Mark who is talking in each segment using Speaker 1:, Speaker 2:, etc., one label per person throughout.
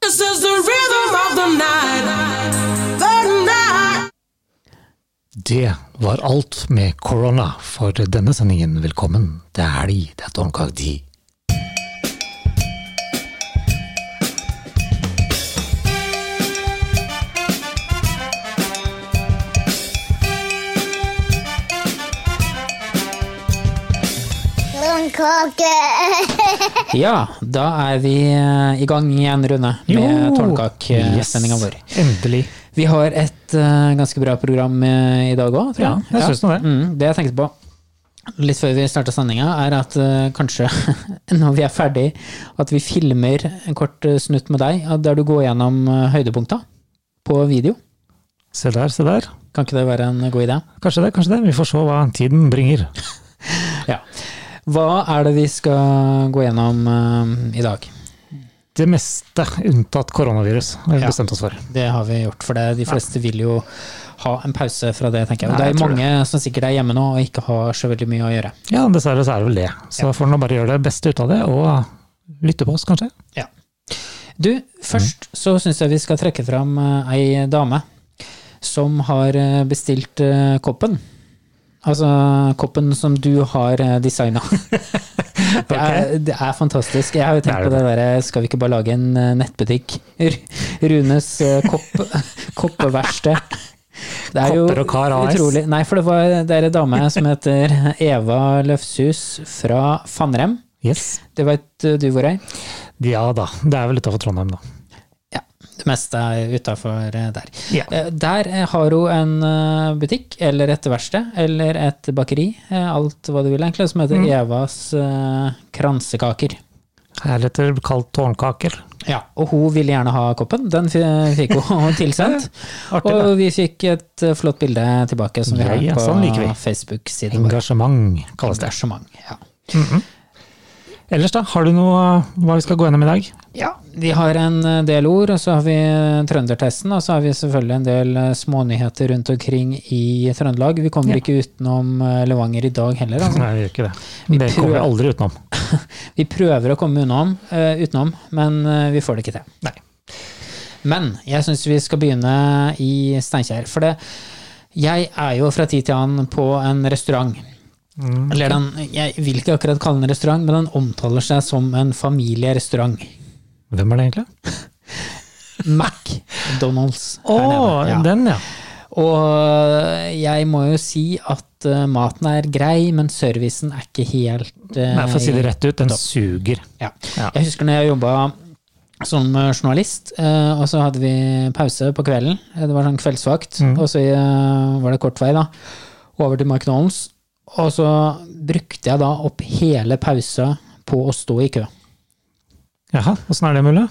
Speaker 1: This is the rhythm of the night. The night.
Speaker 2: Det var alt med korona for denne sendingen. Velkommen. Det er helg. Det er Tom Cagdi.
Speaker 3: Blomkake.
Speaker 4: Ja, da er vi eh, i gang igjen, Rune, med tårnkakesendinga eh, vår.
Speaker 2: Endelig.
Speaker 4: Vi har et eh, ganske bra program eh, i dag òg, tror jeg.
Speaker 2: Ja, jeg synes nå det.
Speaker 4: Mm, det jeg tenkte på litt før vi starta sendinga, er at eh, kanskje, når vi er ferdig, at vi filmer en kort eh, snutt med deg eh, der du går gjennom eh, høydepunkta på video.
Speaker 2: Se der, se der.
Speaker 4: Kan ikke det være en god idé?
Speaker 2: Kanskje det, kanskje det. Vi får se hva tiden bringer.
Speaker 4: Ja. Hva er det vi skal gå gjennom eh, i dag?
Speaker 2: Det meste unntatt koronavirus har vi
Speaker 4: Ja.
Speaker 2: bestemt oss for.
Speaker 4: Det har vi gjort, for det, de fleste vil jo ha en pause fra det, tenker jeg. Og
Speaker 2: Nei,
Speaker 4: det er
Speaker 2: jeg
Speaker 4: jo
Speaker 2: tror
Speaker 4: mange som sikkert er hjemme nå og ikke har så veldig mye å gjøre.
Speaker 2: Ja, dessverre så er det vel det. Så får får en nå bare gjøre det beste ut av det, og lytte på oss, kanskje.
Speaker 4: Ja. Du, først
Speaker 2: Mm.
Speaker 4: så syns jeg vi skal trekke fram eh, ei dame som har eh, bestilt eh, koppen. Altså koppen som du har eh, designa. Det, er- det er fantastisk. Jeg har jo tenkt
Speaker 2: Det er
Speaker 4: på det derre skal vi ikke bare lage en eh, nettbutikk? R- Runes eh, kopp, koppeverksted. Det er jo
Speaker 2: Kopper og kar AS.
Speaker 4: utrolig. Nei, for det, var, det er ei dame som heter Eva Løfshus fra Fannrem.
Speaker 2: Yes.
Speaker 4: Det veit du hvor er?
Speaker 2: Ja da. Det er vel utafor Trondheim, da.
Speaker 4: Ja, det meste er utafor der.
Speaker 2: Ja.
Speaker 4: Eh, Der eh, har hun en eh, butikk, eller et verksted, eller et bakeri, eh, alt hva du vil egentlig, som heter
Speaker 2: Mm.
Speaker 4: Evas eh, kransekaker.
Speaker 2: Heretter kalt tårnkaker.
Speaker 4: Ja, og hun ville gjerne ha koppen, den f- fikk hun tilsendt.
Speaker 2: Artig,
Speaker 4: og
Speaker 2: det.
Speaker 4: vi fikk et eh, flott bilde tilbake som vi
Speaker 2: Ja,
Speaker 4: har
Speaker 2: ja,
Speaker 4: på
Speaker 2: sånn liker vi.
Speaker 4: Facebook-siden vår.
Speaker 2: Engasjement, kalles det.
Speaker 4: Engasjement. Ja.
Speaker 2: Ellers, da? Har du noe hva vi skal gå gjennom i dag?
Speaker 4: ja, vi har en eh, del ord, og så har vi eh, trøndertesten, og så har vi selvfølgelig en del eh, smånyheter rundt omkring i Trøndelag. Vi kommer ikke utenom eh, Levanger i dag heller, altså.
Speaker 2: Nei, vi gjør ikke det. Det kommer vi aldri utenom.
Speaker 4: Vi prøver å komme unnom, eh, utenom, men eh, vi får det ikke til.
Speaker 2: Nei.
Speaker 4: Men jeg syns vi skal begynne i Steinkjer. For det, jeg er jo fra tid til annen på en restaurant.
Speaker 2: Mm.
Speaker 4: Eller den, jeg vil ikke akkurat kalle den en restaurant, men den omtaler seg som en familierestaurant.
Speaker 2: Hvem er det egentlig?
Speaker 4: McDonald's
Speaker 2: Å,
Speaker 4: her nede. Ja. Eh,
Speaker 2: den, ja.
Speaker 4: Og eh, jeg må jo si at eh, maten er grei, men servicen er ikke helt eh,
Speaker 2: Nei, for å si det rett ut, den suger.
Speaker 4: Ja.
Speaker 2: Ja.
Speaker 4: Jeg husker når jeg jobba som journalist, eh, og så hadde vi pause på kvelden. Eh, Det var sånn kveldsvakt,
Speaker 2: Mm.
Speaker 4: og så eh, var det kort vei da, over til McDonald's. Og så brukte jeg da opp hele pausa på å stå i kø.
Speaker 2: Jaha, åssen er det mulig?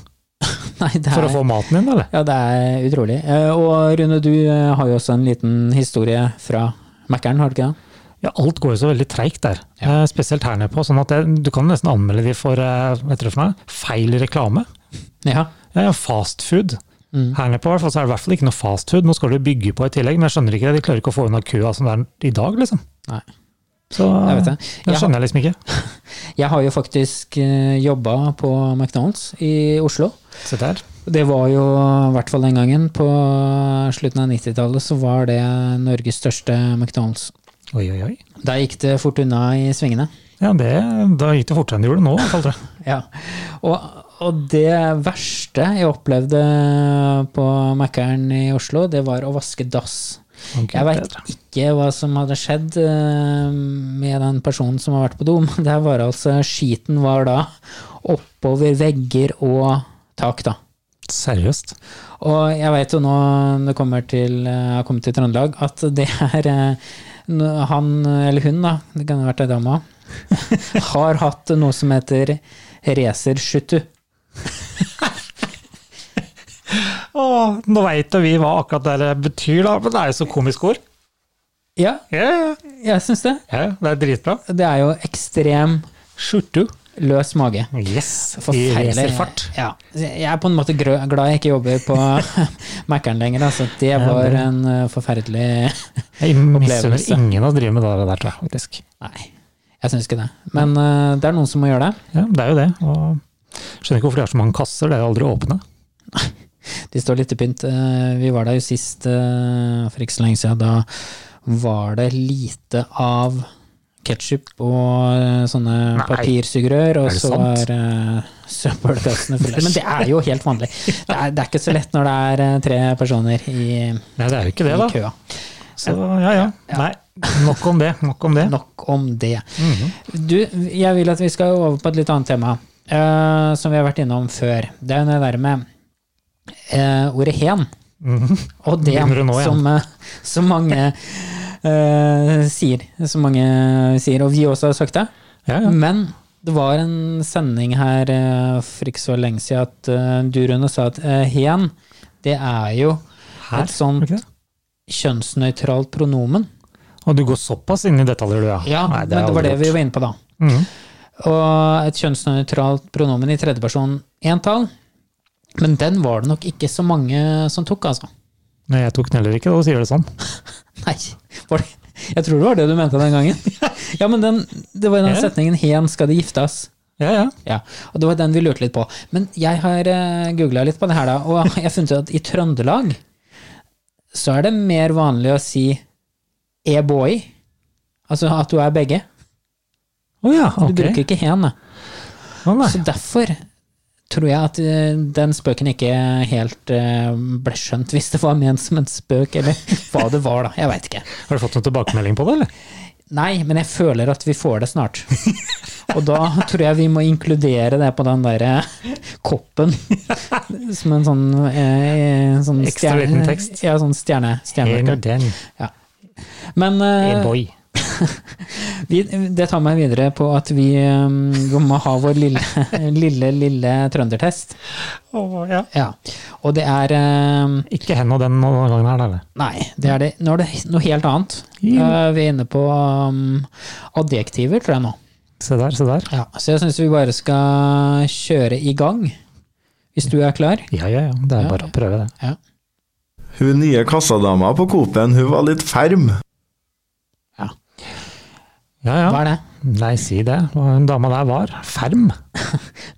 Speaker 4: Nei, det
Speaker 2: For
Speaker 4: er,
Speaker 2: å få maten din, da, eller?
Speaker 4: ja, det er utrolig. Eh, Og Rune, du eh, har jo også en liten historie fra Mækkern, har du ikke det?
Speaker 2: Ja, alt går jo så veldig treigt der. Eh, spesielt her nede på. Sånn at det, du kan jo nesten anmelde de for, eh, hva heter det for noe, feil reklame.
Speaker 4: Ja.
Speaker 2: Ja, ja, fast food.
Speaker 4: Mm.
Speaker 2: Her nede på hvert fall, så er det i hvert fall ikke noe fast food. Nå skal du bygge på i tillegg, men jeg skjønner ikke det. De klarer ikke å få unna køa som det er i dag, liksom.
Speaker 4: Nei.
Speaker 2: Så
Speaker 4: Jeg vet det. Jeg har-
Speaker 2: skjønner jeg liksom ikke.
Speaker 4: Jeg har jo faktisk jobba på McDonald's i Oslo.
Speaker 2: Se der.
Speaker 4: Det var jo, i hvert fall den gangen, på slutten av 90-tallet, så var det Norges største McDonald's.
Speaker 2: Oi, oi, oi.
Speaker 4: Da gikk det fort unna i svingene.
Speaker 2: Ja, det, da gikk det fortere enn det gjorde nå, i hvert fall, tror jeg.
Speaker 4: Ja. Og, og det verste jeg opplevde på Mækkern i Oslo, det var å vaske dass.
Speaker 2: Ok,
Speaker 4: Jeg veit
Speaker 2: bedre.
Speaker 4: ikke hva som hadde skjedd eh, med den personen som har vært på do, men det her var altså skiten var da oppover vegger og tak, da.
Speaker 2: Seriøst.
Speaker 4: Og jeg vet jo nå når det kommer til, eh, har kommet til Trøndelag, at det er eh, n- han eller hun, da, det kan ha vært ei dame, også, har hatt noe som heter racerskyttu.
Speaker 2: Å, nå veit jo vi hva akkurat det der betyr, da, men det er jo så komisk ord.
Speaker 4: Ja,
Speaker 2: Ja, ja,
Speaker 4: jeg syns det.
Speaker 2: ja. Det er dritbra.
Speaker 4: Det er jo ekstrem
Speaker 2: Skjortu.
Speaker 4: løs mage.
Speaker 2: Yes. I
Speaker 4: Forferdelig.
Speaker 2: racerfart.
Speaker 4: Ja. Jeg er på en måte grø- glad jeg ikke jobber på Mækkern lenger, altså. Det var en eh, forferdelig
Speaker 2: Jeg misunner
Speaker 4: Opplevelse.
Speaker 2: ingen å drive med det der, tror jeg, faktisk.
Speaker 4: Nei, jeg syns ikke det. Men eh, det er noen som må gjøre det.
Speaker 2: Ja, det er jo det. Og skjønner ikke hvorfor de har så mange kasser, det er jo aldri åpne.
Speaker 4: De står litt i pynt. Eh, Vi var der jo sist eh, for ikke så lenge siden. Da var det lite av ketsjup og eh, sånne
Speaker 2: Nei.
Speaker 4: papirsugerør, og
Speaker 3: Er det
Speaker 4: så
Speaker 3: sant?
Speaker 4: var eh, søppelkassene fulle. Men det er jo helt vanlig. Det er, det er ikke så lett når det er eh, tre personer i,
Speaker 2: Nei, det er jo ikke det,
Speaker 4: i
Speaker 2: da.
Speaker 4: køa.
Speaker 2: Så ja, ja. Nei, nok om det. Nok om det.
Speaker 4: Nok om det. Mhm. Du, jeg vil at vi skal over på et litt annet tema, eh, som vi har vært innom før. Det er jo det der med eh, ordet hen. Og det
Speaker 2: Begynner Mhm. du nå igjen?
Speaker 4: som, eh, som mange eh, sier. Som mange sier, og vi også har sagt det.
Speaker 2: Ja, ja.
Speaker 4: Men det var en sending her eh, for ikke så lenge siden at eh, du, Rune, sa at eh, hen, det er jo
Speaker 2: Her,
Speaker 4: et sånt
Speaker 2: ok.
Speaker 4: kjønnsnøytralt pronomen.
Speaker 2: Og du går såpass inn i detaljer, du, ja.
Speaker 4: Ja,
Speaker 2: Nei,
Speaker 4: men det
Speaker 2: har
Speaker 4: var
Speaker 2: jeg
Speaker 4: det vi
Speaker 2: aldri gjort.
Speaker 4: var inne på da.
Speaker 2: Mhm.
Speaker 4: Og et kjønnsnøytralt pronomen i tredjeperson entall. Men den var det nok ikke så mange som tok, altså.
Speaker 2: Nei, jeg tok den heller ikke, da sier det sånn.
Speaker 4: Nei, var det Jeg tror det var det du mente den gangen. Ja, men den, det var den
Speaker 2: Ja.
Speaker 4: setningen 'Hen skal de giftes'.
Speaker 2: Ja, ja.
Speaker 4: Ja, og det var den vi lurte litt på. Men jeg har uh, googla litt på det her, da, og jeg har funnet ut at i Trøndelag så er det mer vanlig å si 'e-boy'. Altså at du er begge.
Speaker 2: Å ja,
Speaker 4: Du
Speaker 2: ok.
Speaker 4: bruker ikke 'hen', da.
Speaker 2: Å, nei.
Speaker 4: Så derfor tror jeg at eh, den spøken ikke helt eh, ble skjønt, hvis det var ment som en spøk, eller hva det var, da. Jeg veit ikke.
Speaker 2: Har du fått noen tilbakemelding på det, eller?
Speaker 4: Nei, men jeg føler at vi får det snart. Og da tror jeg vi må inkludere det på den derre koppen, som en sånn, eh, sånn
Speaker 2: Ekstra
Speaker 4: stjerne-
Speaker 2: liten tekst.
Speaker 4: Ja, sånn stjerne.
Speaker 2: En og
Speaker 4: stjerne.
Speaker 2: den.
Speaker 4: Men eh,
Speaker 2: Hey, boy.
Speaker 4: vi, det tar meg videre på at vi, eh, vi må ha vår lille, lille, lille trøndertest.
Speaker 2: Å, ja.
Speaker 4: Ja. Og det er eh,
Speaker 2: Ikke hen og den noen gangen her, da, eller?
Speaker 4: Nei, det er det. Nå er det noe helt annet. Eh, vi er inne på um, adjektiver, tror jeg nå.
Speaker 2: Se der, se der.
Speaker 4: Ja, så jeg syns vi bare skal kjøre i gang, hvis du er klar.
Speaker 2: Ja, ja, ja. Det er bare å prøve det.
Speaker 4: Ja.
Speaker 5: Hun nye kassadama på Coop-en, hun var litt ferm.
Speaker 2: Ja,
Speaker 4: Hva
Speaker 2: ja.
Speaker 4: er det?
Speaker 2: Nei, si det. Og Hun dama der var ferm.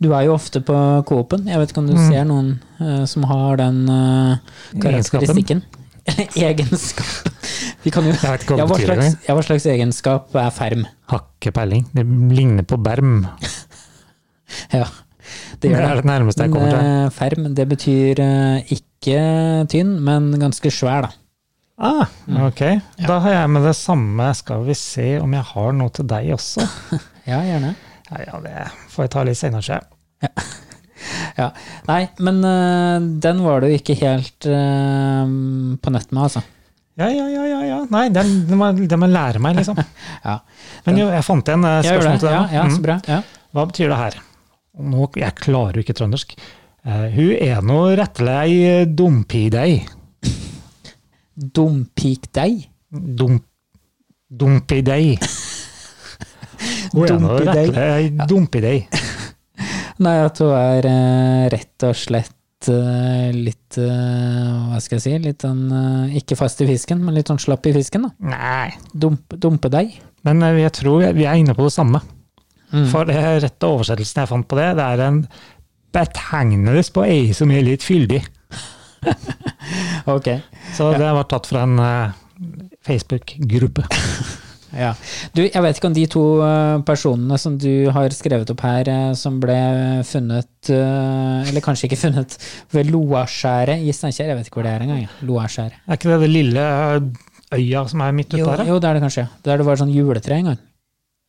Speaker 4: Du er jo ofte på Coop-en. Jeg vet ikke om
Speaker 2: Mm.
Speaker 4: du ser noen eh, som har den eh, karakteristikken. Egenskap. Vi kan jo
Speaker 2: Jeg vet ikke hva
Speaker 4: ja,
Speaker 2: det
Speaker 4: hva,
Speaker 2: betyr
Speaker 4: slags,
Speaker 2: engang.
Speaker 4: ja, hva slags egenskap er ferm?
Speaker 2: Har ikke peiling. Det ligner på berm.
Speaker 4: Ja, det
Speaker 2: Det
Speaker 4: gjør det.
Speaker 2: er det nærmeste jeg
Speaker 4: Men,
Speaker 2: kommer til.
Speaker 4: eh, ferm, det betyr eh, ikke tynn, men ganske svær, da.
Speaker 2: Ah, ok. Da har jeg med det samme. Skal vi se om jeg har noe til deg også?
Speaker 4: Ja, gjerne.
Speaker 2: Ja, ja, det får jeg ta litt senere. tror jeg.
Speaker 4: Ja. Nei, men eh, den var du ikke helt eh, på nøtt med, altså.
Speaker 2: Ja, ja, ja. ja, ja. Nei, det, er- det, må, det må jeg lære meg, liksom.
Speaker 4: Ja.
Speaker 2: Men jo, jeg fant igjen
Speaker 4: Jeg gjør det.
Speaker 2: spørsmål til deg.
Speaker 4: Ja,
Speaker 2: nå.
Speaker 4: ja,
Speaker 2: Mm.
Speaker 4: så bra. Ja.
Speaker 2: Hva betyr det her? Og Nå, jeg klarer jo ikke trøndersk. Eh, hun er nå rettelei dumpidei.
Speaker 4: Dumpikdeig.
Speaker 2: Dump, dumpidei. Hun er nå
Speaker 4: Dumpidei.
Speaker 2: rettelei dumpidei.
Speaker 4: Nei, at hun er eh, rett og slett eh, litt eh, Hva skal jeg si? Litt sånn eh, Ikke fast i fisken, men litt sånn slapp i fisken, da.
Speaker 2: Nei.
Speaker 4: Dump, dumpedeig.
Speaker 2: Men eh, jeg tror vi er inne på det samme.
Speaker 4: Mm.
Speaker 2: For det rette oversettelsen jeg fant på det, det er en betegnelse på ei som er litt fyldig.
Speaker 4: Ok.
Speaker 2: Så det var tatt fra en eh, Facebook-gruppe.
Speaker 4: Ja. Du, jeg vet ikke om de to eh, personene som du har skrevet opp her, eh, som ble funnet eh, Eller kanskje ikke funnet ved Loaskjæret i Steinkjer. Jeg vet ikke hvor det er engang. jeg. Loaskjæret.
Speaker 2: Er ikke det det lille øya som er midt ute
Speaker 4: Jo,
Speaker 2: der? da?
Speaker 4: jo, det er det kanskje. ja. Der det var sånn juletre en gang.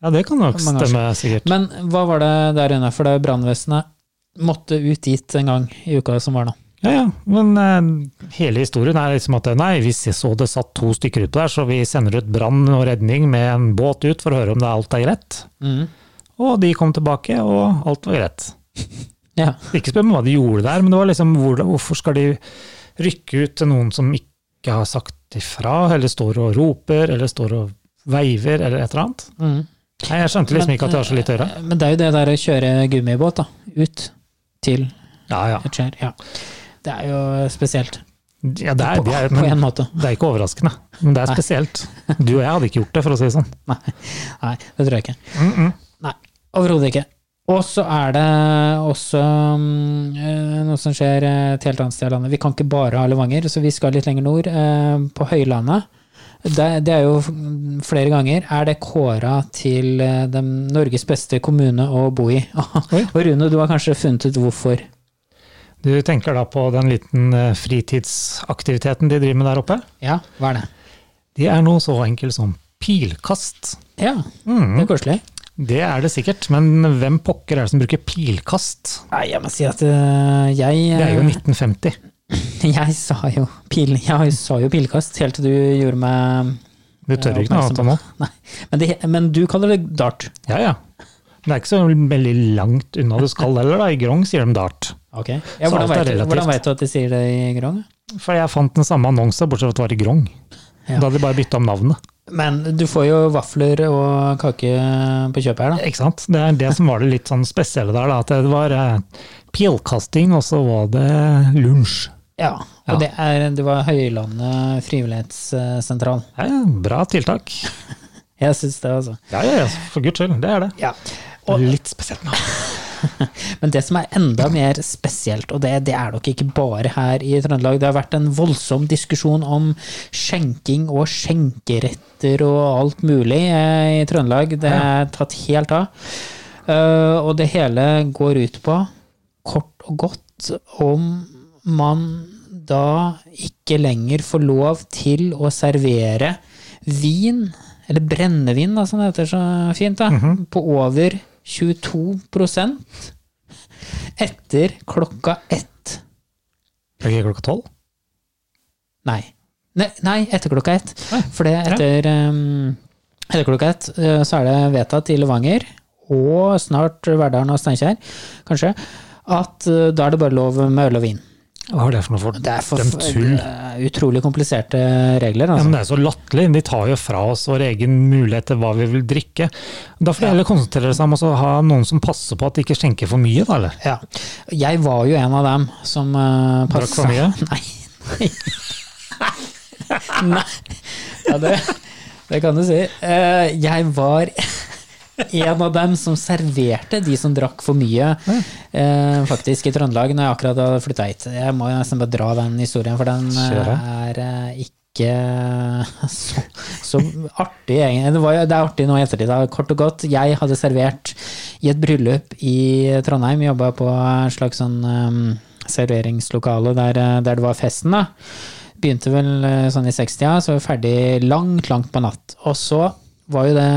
Speaker 2: Ja, det kan nok
Speaker 4: Mange år
Speaker 2: stemme, sikkert.
Speaker 4: Men hva var det der inne? For det brannvesenet måtte ut dit en gang i uka som var nå.
Speaker 2: Ja, ja. Men eh, hele historien er liksom at nei, vi så det satt to stykker ute der, så vi sender ut brann og redning med en båt ut for å høre om det alt er greit. Og de kom tilbake, og alt var greit.
Speaker 4: Ja.
Speaker 2: Ikke spør meg hva de gjorde der, men det var liksom hvor, hvorfor skal de rykke ut til noen som ikke har sagt ifra, eller står og roper, eller står og veiver, eller et eller annet?
Speaker 4: Mhm.
Speaker 2: Nei, jeg skjønte liksom ikke at det var så lite å gjøre.
Speaker 4: Men det er jo det der å kjøre gummibåt da, ut til
Speaker 2: Ja, ja.
Speaker 4: et skjær. Ja. Det er jo spesielt,
Speaker 2: ja det, er,
Speaker 4: på,
Speaker 2: det, er,
Speaker 4: på
Speaker 2: men,
Speaker 4: en måte.
Speaker 2: det er ikke overraskende, men det er spesielt. Du og jeg hadde ikke gjort det, for å si det sånn.
Speaker 4: Nei, det tror jeg ikke. Nei, overhodet ikke. Og så er det også mm, eh, noe som skjer eh, et helt annet sted i landet. Vi kan ikke bare ha Levanger, så vi skal litt lenger nord, eh, på Høylandet. Det, det er jo f- mm, flere ganger er det kåra til eh, den Norges beste kommune å bo i. Og Rune, du har kanskje funnet ut hvorfor.
Speaker 2: Du tenker da på den liten eh, fritidsaktiviteten de driver med der oppe?
Speaker 4: Ja, hva er det?
Speaker 2: De er noe så enkelt som pilkast.
Speaker 4: Ja,
Speaker 2: Mm-hmm.
Speaker 4: det er koselig.
Speaker 2: Det er det sikkert, men hvem pokker er det som bruker pilkast?
Speaker 4: Nei, jeg må si at eh, jeg
Speaker 2: Det er jo
Speaker 4: eh,
Speaker 2: 1950.
Speaker 4: Jeg sa jo, pil, jeg sa jo pilkast helt til du gjorde meg
Speaker 2: Du tør ikke noe annet nå?
Speaker 4: Nei, men, det, men du kaller det dart.
Speaker 2: Ja, ja. Men Det er ikke så veldig langt unna du skal heller, da. I Grong sier de dart.
Speaker 4: Ok. Ja,
Speaker 2: Så
Speaker 4: hvordan,
Speaker 2: alt er
Speaker 4: vet, du-
Speaker 2: relativt.
Speaker 4: hvordan vet du at de sier det i Grong?
Speaker 2: For jeg fant den samme annonsa, bortsett fra at det var i Grong.
Speaker 4: Ja.
Speaker 2: Da hadde de bare bytta om navnet.
Speaker 4: Men du får jo vafler og kake på kjøpet her, da.
Speaker 2: Ikke sant? Det er det som var det litt sånn spesielle der, da. At det var eh, pilkasting, og så var det lunsj.
Speaker 4: Ja,
Speaker 2: Ja.
Speaker 4: og det, er, det var Høylandet frivillighetssentral.
Speaker 2: Ja, ja, bra tiltak.
Speaker 4: Jeg syns det, altså.
Speaker 2: Ja, ja, ja, for guds skyld. Det er det.
Speaker 4: Ja. Og,
Speaker 2: Litt spesielt navn.
Speaker 4: men det som er enda mer spesielt, og det, det er nok ikke bare her i Trøndelag, det har vært en voldsom diskusjon om skjenking og skjenkeretter og alt mulig eh, i Trøndelag. Det er tatt helt av. Eh, og det hele går ut på, kort og godt, om man da ikke lenger får lov til å servere vin, eller brennevin, da, som det heter så fint, da, på over 22 etter klokka ett.
Speaker 2: Er det ikke klokka tolv?
Speaker 4: Nei. Nei, nei etter klokka ett. For det etter, um, etter klokka ett eh, så er det vedtatt i Levanger, og snart Verdalen og Steinkjer, kanskje, at eh, da er det bare lov med øl og vin.
Speaker 2: Hva er det for noe for
Speaker 4: Det er, for,
Speaker 2: dem tull?
Speaker 4: det er utrolig kompliserte regler,
Speaker 2: Ja,
Speaker 4: altså.
Speaker 2: men det er så latterlig. De tar jo fra oss vår egen mulighet til hva vi vil drikke. Da får de heller konsentrere seg om å ha noen som passer på at de ikke skjenker for mye, da, eller?
Speaker 4: Ja. Jeg var jo en av dem som uh,
Speaker 2: Drakk for mye?
Speaker 4: Nei. Nei. Nei. Ja, det, det kan du si. Eh, jeg var en av dem som serverte de som drakk for mye, eh, faktisk, i Trøndelag, når jeg akkurat hadde flytta hit. Jeg må jo nesten bare dra den historien, for den eh,
Speaker 2: Kjør
Speaker 4: er eh, ikke så, så artig, egentlig. Det, var, jo- det er artig nå i ettertid. da. Kort og godt, jeg hadde servert i et bryllup i Trondheim, jobba på en slags sånn eh, serveringslokale der, eh, der det var festen, da. Begynte vel eh, sånn i 60-tida, så var vi ferdig langt, langt på natt. Og så var jo det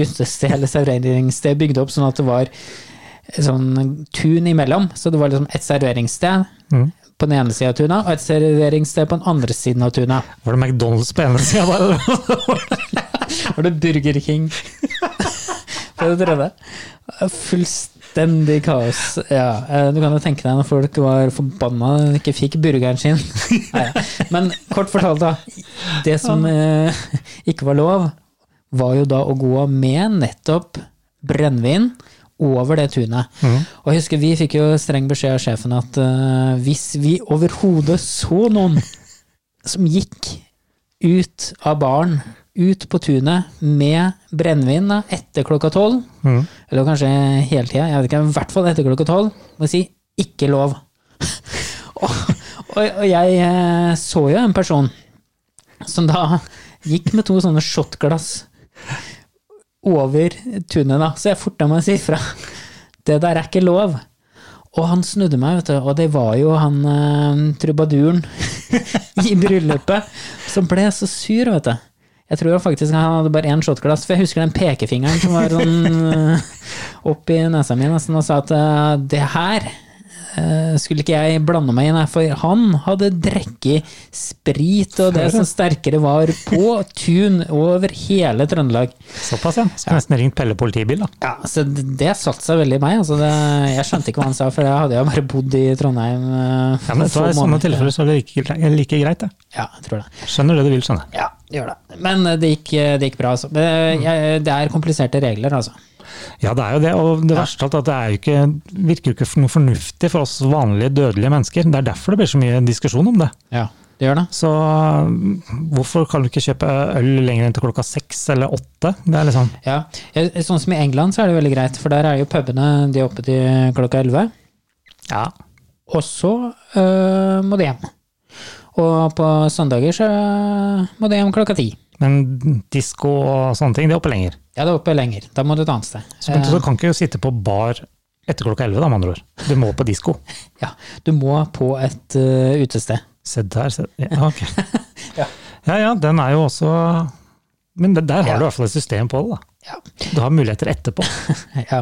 Speaker 4: utestedet eller serveringssted bygd opp sånn at det var sånn tun imellom. Så det var liksom et serveringssted på den ene sida av tuna, og et serveringssted på den andre siden av tuna.
Speaker 2: Var det McDonald's på ene sida, da? eller?
Speaker 4: Var det Burger King på det tredje? Fullstendig kaos. Ja, eh, du kan jo tenke deg når folk var forbanna og ikke fikk burgeren sin. Nei, ja. Men kort fortalt, da. Det som eh, ikke var lov, var jo da å gå med nettopp brennevin over det tunet. Og jeg husker vi fikk jo streng beskjed av sjefen at eh, hvis vi overhodet så noen som gikk ut av baren, ut på tunet med brennevin da, etter klokka tolv, eller kanskje hele tida, jeg vet ikke, men i hvert fall etter klokka tolv, må jeg si ikke lov. og, og, og jeg eh, så jo en person som da gikk med to sånne shotglass over tunet, da, så jeg forta meg å si ifra. Det der er ikke lov. Og han snudde meg, vet du, og det var jo han eh, trubaduren i bryllupet som ble så sur, vet du. Jeg tror faktisk han hadde bare én shotglass, for jeg husker den pekefingeren som var sånn eh, opp i nesa mi nesten og sa at eh, det her eh, skulle ikke jeg blande meg inn her, for han hadde drukket sprit og det som sterkere var på tun over hele Trøndelag.
Speaker 2: Såpass, ja. Skulle nesten ringt Pelle politibil, da.
Speaker 4: Ja, så Altså, det, det satt seg veldig i meg. Altså det, jeg skjønte ikke hva han sa, for jeg hadde jo bare bodd i Trondheim. eh,
Speaker 2: Ja, men
Speaker 4: for
Speaker 2: så I
Speaker 4: få
Speaker 2: sånne
Speaker 4: måneder.
Speaker 2: tilfeller så er det like, grei- like greit, det.
Speaker 4: Ja, jeg tror det.
Speaker 2: Skjønner det du vil skjønne.
Speaker 4: Ja, gjør det. Men eh, det gikk, eh, det gikk bra, altså. Det, jeg, det er kompliserte regler, altså.
Speaker 2: Ja, det er jo det. Og det verste av alt er at det er jo ikke, virker jo ikke noe fornuftig for oss vanlige dødelige mennesker. Det er derfor det blir så mye diskusjon om det.
Speaker 4: Ja. Det gjør det.
Speaker 2: Så mm, hvorfor kan du ikke kjøpe øl lenger enn til klokka seks eller åtte? Det er liksom
Speaker 4: Ja. Eh, Sånn som i England så er det veldig greit, for der er jo pubene de er oppe til klokka 11.
Speaker 2: Ja.
Speaker 4: Og så eh, må de hjem. Og på søndager så eh, må de hjem klokka 10.
Speaker 2: Men disko og sånne ting, det er oppe lenger.
Speaker 4: Ja, det er oppe lenger. Da må du et annet sted. Eh,
Speaker 2: Så, men, så kan ikke du sitte på bar etter klokka elleve, da, med andre ord. Du må på disko.
Speaker 4: Ja, du må på et eh, utested.
Speaker 2: Se der, se ja, ok. ja ja, den er jo også Men det- der har
Speaker 4: Ja.
Speaker 2: du i hvert fall et system på det, da.
Speaker 4: Ja.
Speaker 2: Du har muligheter etterpå.
Speaker 4: ja.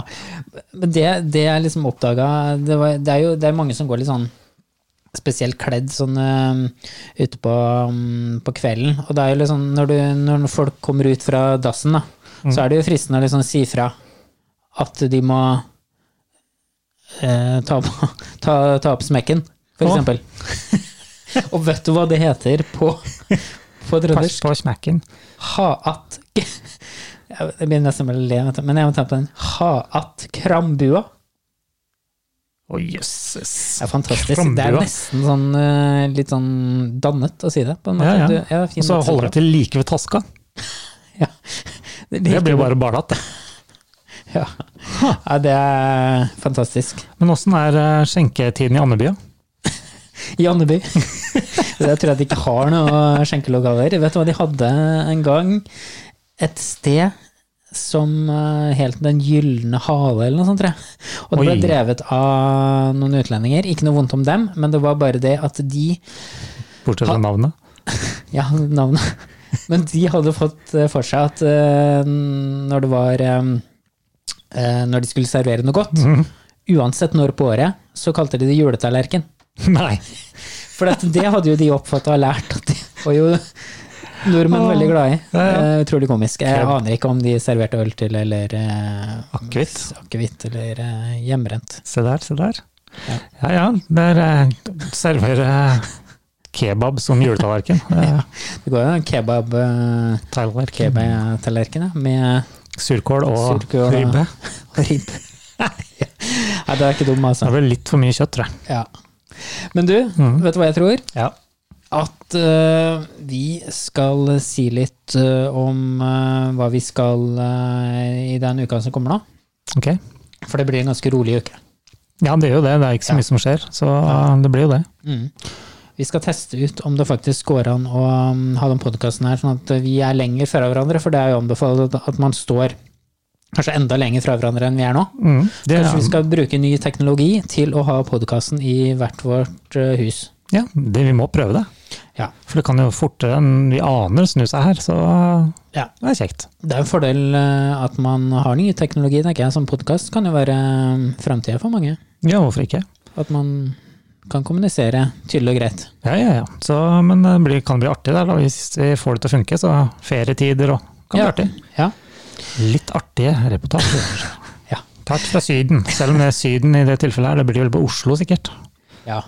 Speaker 4: Men det, det jeg liksom oppdaga det, var- det er jo det er mange som går litt sånn spesielt kledd sånn eh, ute på, mm, på kvelden. Og det er jo litt sånn når, du, når folk kommer ut fra dassen, da, så er det jo fristende å liksom si fra at de må eh, ta, på, ta, ta opp smekken,
Speaker 2: Å.
Speaker 4: for eksempel. Og vet du hva det heter på, på
Speaker 2: Pass
Speaker 4: trøndersk?
Speaker 2: på smacken.
Speaker 4: Ha-at Jeg begynner nesten med å le, vet du, men jeg må ta på den. Ha-at krambua.
Speaker 2: Å, jøsses.
Speaker 4: Det er fantastisk. Det er
Speaker 2: Krambua.
Speaker 4: nesten sånn eh, litt sånn dannet å si det, på en måte.
Speaker 2: Ja, ja.
Speaker 4: Du- det er fin
Speaker 2: Og så
Speaker 4: måte å si
Speaker 2: holder du
Speaker 4: det
Speaker 2: til like ved taska.
Speaker 4: på. Ja. Det,
Speaker 2: Det
Speaker 4: liker
Speaker 2: blir
Speaker 4: du.
Speaker 2: jo bare bardatt. det.
Speaker 4: ja. ja, det er fantastisk.
Speaker 2: Men åssen er eh, skjenketiden i Andeby? da?
Speaker 4: I Andeby. Jeg tror jeg de ikke har noen skjenkelokaler. Vet du hva de hadde en gang? Et sted som eh, helt Den gylne hale, eller noe sånt, tror jeg. Og det ble
Speaker 2: Oi.
Speaker 4: drevet av noen utlendinger. Ikke noe vondt om dem, men det var bare det at de
Speaker 2: Bortsett
Speaker 4: Ha-
Speaker 2: fra navnet.
Speaker 4: Ja, navnet. Men de hadde fått eh, for seg at eh, når det var eh, eh, Når de skulle servere noe godt, uansett når på året, så kalte de det juletallerken.
Speaker 2: Nei.
Speaker 4: For dette, det hadde jo de oppfatta og lært, at de var jo nordmenn veldig glad i.
Speaker 2: Ja, ja.
Speaker 4: Eh, Utrolig komisk. Jeg
Speaker 2: Krem.
Speaker 4: aner ikke om de serverte øl til, eller eh,
Speaker 2: Akevitt.
Speaker 4: akevitt, eller eh, hjemmebrent.
Speaker 2: Se der, se der. Ja ja, der eh, serverer eh, kebab som juletallerken. Eh,
Speaker 4: Det går jo en kebab, eh,
Speaker 2: Tallerken.
Speaker 4: kebab-tallerken, ja, med
Speaker 2: Surkål og
Speaker 4: Surkål og-
Speaker 2: ribbe.
Speaker 4: ribbe. Nei, det er ikke dum,
Speaker 2: Det
Speaker 4: altså.
Speaker 2: er vel litt for mye kjøtt, tror jeg.
Speaker 4: Ja. Men du,
Speaker 2: Mhm.
Speaker 4: vet du hva jeg tror?
Speaker 2: Ja.
Speaker 4: At eh, vi skal si litt eh, om eh, hva vi skal eh, i den uka som kommer nå.
Speaker 2: Ok.
Speaker 4: For det blir en ganske rolig uke.
Speaker 2: Ja, det er jo det. Det er ikke så mye som skjer. Så eh, det blir jo det.
Speaker 4: Vi skal teste ut om det faktisk går an å um, ha den podkasten her, sånn at vi er lenger fra hverandre. For det er jo anbefalt at- at man står kanskje enda lenger fra hverandre enn vi er nå.
Speaker 2: Mm. det
Speaker 4: Kanskje vi skal bruke ny teknologi til å ha podkasten i hvert vårt eh, hus.
Speaker 2: ja, det, vi må prøve det.
Speaker 4: Ja.
Speaker 2: For det kan jo fortere enn vi aner snu seg her, så
Speaker 4: Ja.
Speaker 2: det er kjekt.
Speaker 4: Det er en fordel eh, at man har ny teknologi, tenker jeg. Som podkast kan jo være framtida for mange.
Speaker 2: Ja, hvorfor ikke?
Speaker 4: At man kan kommunisere tydelig og greit.
Speaker 2: Ja, ja, ja. Så, men det blir, kan bli artig der, da. Hvis vi får det til å funke, så ferietider og kan bli
Speaker 4: ja.
Speaker 2: artig.
Speaker 4: Ja.
Speaker 2: Litt artige reportasjer.
Speaker 4: Ja.
Speaker 2: Tatt fra Syden. Selv om det er Syden i det tilfellet her, det blir vel på Oslo sikkert.
Speaker 4: ja.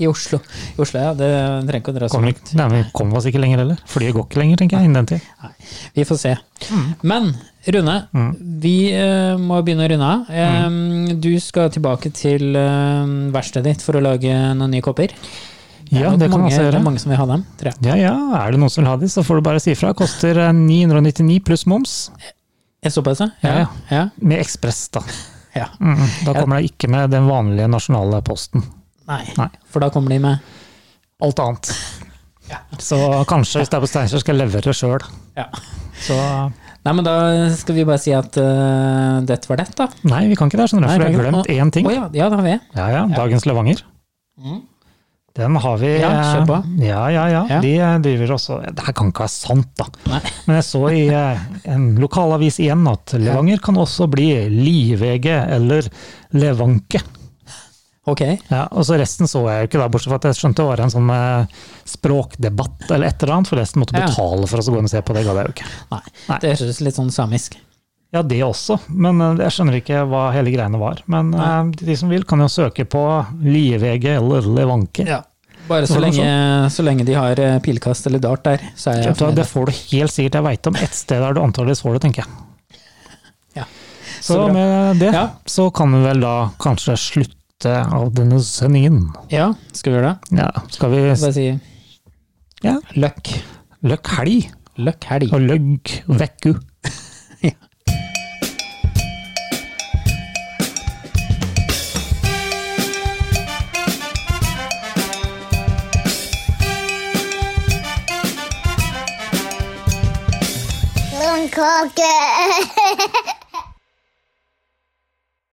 Speaker 4: I Oslo. I Oslo, ja. Det trenger ikke å dra så
Speaker 2: Kommer
Speaker 4: langt.
Speaker 2: vi, nei, vi kommer oss ikke lenger heller. Flyet går ikke lenger, tenker jeg, innen den tid.
Speaker 4: Nei, vi får se. Men Rune,
Speaker 2: Mm.
Speaker 4: vi eh, må begynne å runde av. Eh, Du skal tilbake til eh, verkstedet ditt for å lage noen nye kopper.
Speaker 2: Ja, det kan
Speaker 4: mange,
Speaker 2: vi også
Speaker 4: det
Speaker 2: gjøre.
Speaker 4: er mange som vil ha dem, tror jeg.
Speaker 2: Ja, ja. Er det noen som vil ha de, så får du bare si fra. Koster eh, 999 pluss moms.
Speaker 4: Er det Såpass, ja?
Speaker 2: Ja,
Speaker 4: ja.
Speaker 2: Med ekspress, da.
Speaker 4: ja.
Speaker 2: Mm, da kommer det ikke med den vanlige nasjonale posten.
Speaker 4: Nei.
Speaker 2: Nei.
Speaker 4: For da kommer de med
Speaker 2: Alt annet. Så kanskje, hvis det er på Steinkjer, skal jeg levere sjøl.
Speaker 4: ja.
Speaker 2: Så
Speaker 4: Nei, men da skal vi bare si at eh, dette var det, da.
Speaker 2: Nei, vi kan ikke det, skjønner du.
Speaker 4: Nei,
Speaker 2: For jeg
Speaker 4: kan
Speaker 2: har
Speaker 4: ikke-
Speaker 2: glemt
Speaker 4: Å,
Speaker 2: én ting.
Speaker 4: å ja, ja, det har vi.
Speaker 2: Ja, ja. Dagens Levanger. Den har vi
Speaker 4: Ja, kjør på.
Speaker 2: eh, Ja, ja, ja.
Speaker 4: Ja.
Speaker 2: De eh, driver også Det her kan ikke være sant, da.
Speaker 4: Nei.
Speaker 2: Men jeg så i eh, en lokalavis igjen at Levanger kan også bli Livege eller Levanke.
Speaker 4: Ok.
Speaker 2: Ja, og så Resten så jeg jo ikke, da, bortsett fra at jeg skjønte det var en sånn eh, språkdebatt eller et eller annet, for resten måtte
Speaker 4: Ja.
Speaker 2: betale for oss å gå inn og se på. Det gadd jeg jo ikke.
Speaker 4: Nei.
Speaker 2: Nei.
Speaker 4: Det høres litt sånn samisk.
Speaker 2: Ja, det også, men eh, jeg skjønner ikke hva hele greiene var. Men eh, de som vil, kan jo søke på Lievege eller Levanke.
Speaker 4: Ja. Bare så
Speaker 2: Var det
Speaker 4: lenge, så lenge de har eh, pilkast eller dart der, så er jeg
Speaker 2: Vet du hva,
Speaker 4: fornøyd.
Speaker 2: Det får du helt sikkert. Jeg veit om ett sted der du antakeligvis får det, tenker jeg.
Speaker 4: Ja.
Speaker 2: Så,
Speaker 4: bra.
Speaker 2: med det
Speaker 4: Ja.
Speaker 2: så kan vi vel da kanskje slutte av denne sendingen.
Speaker 4: Ja, skal vi gjøre det?
Speaker 2: Ja, skal vi
Speaker 4: Bare si
Speaker 2: Ja.
Speaker 4: Løkk.
Speaker 2: Løkk helg
Speaker 4: Løkk helg.
Speaker 2: og løgg vekku.
Speaker 3: Blomkake!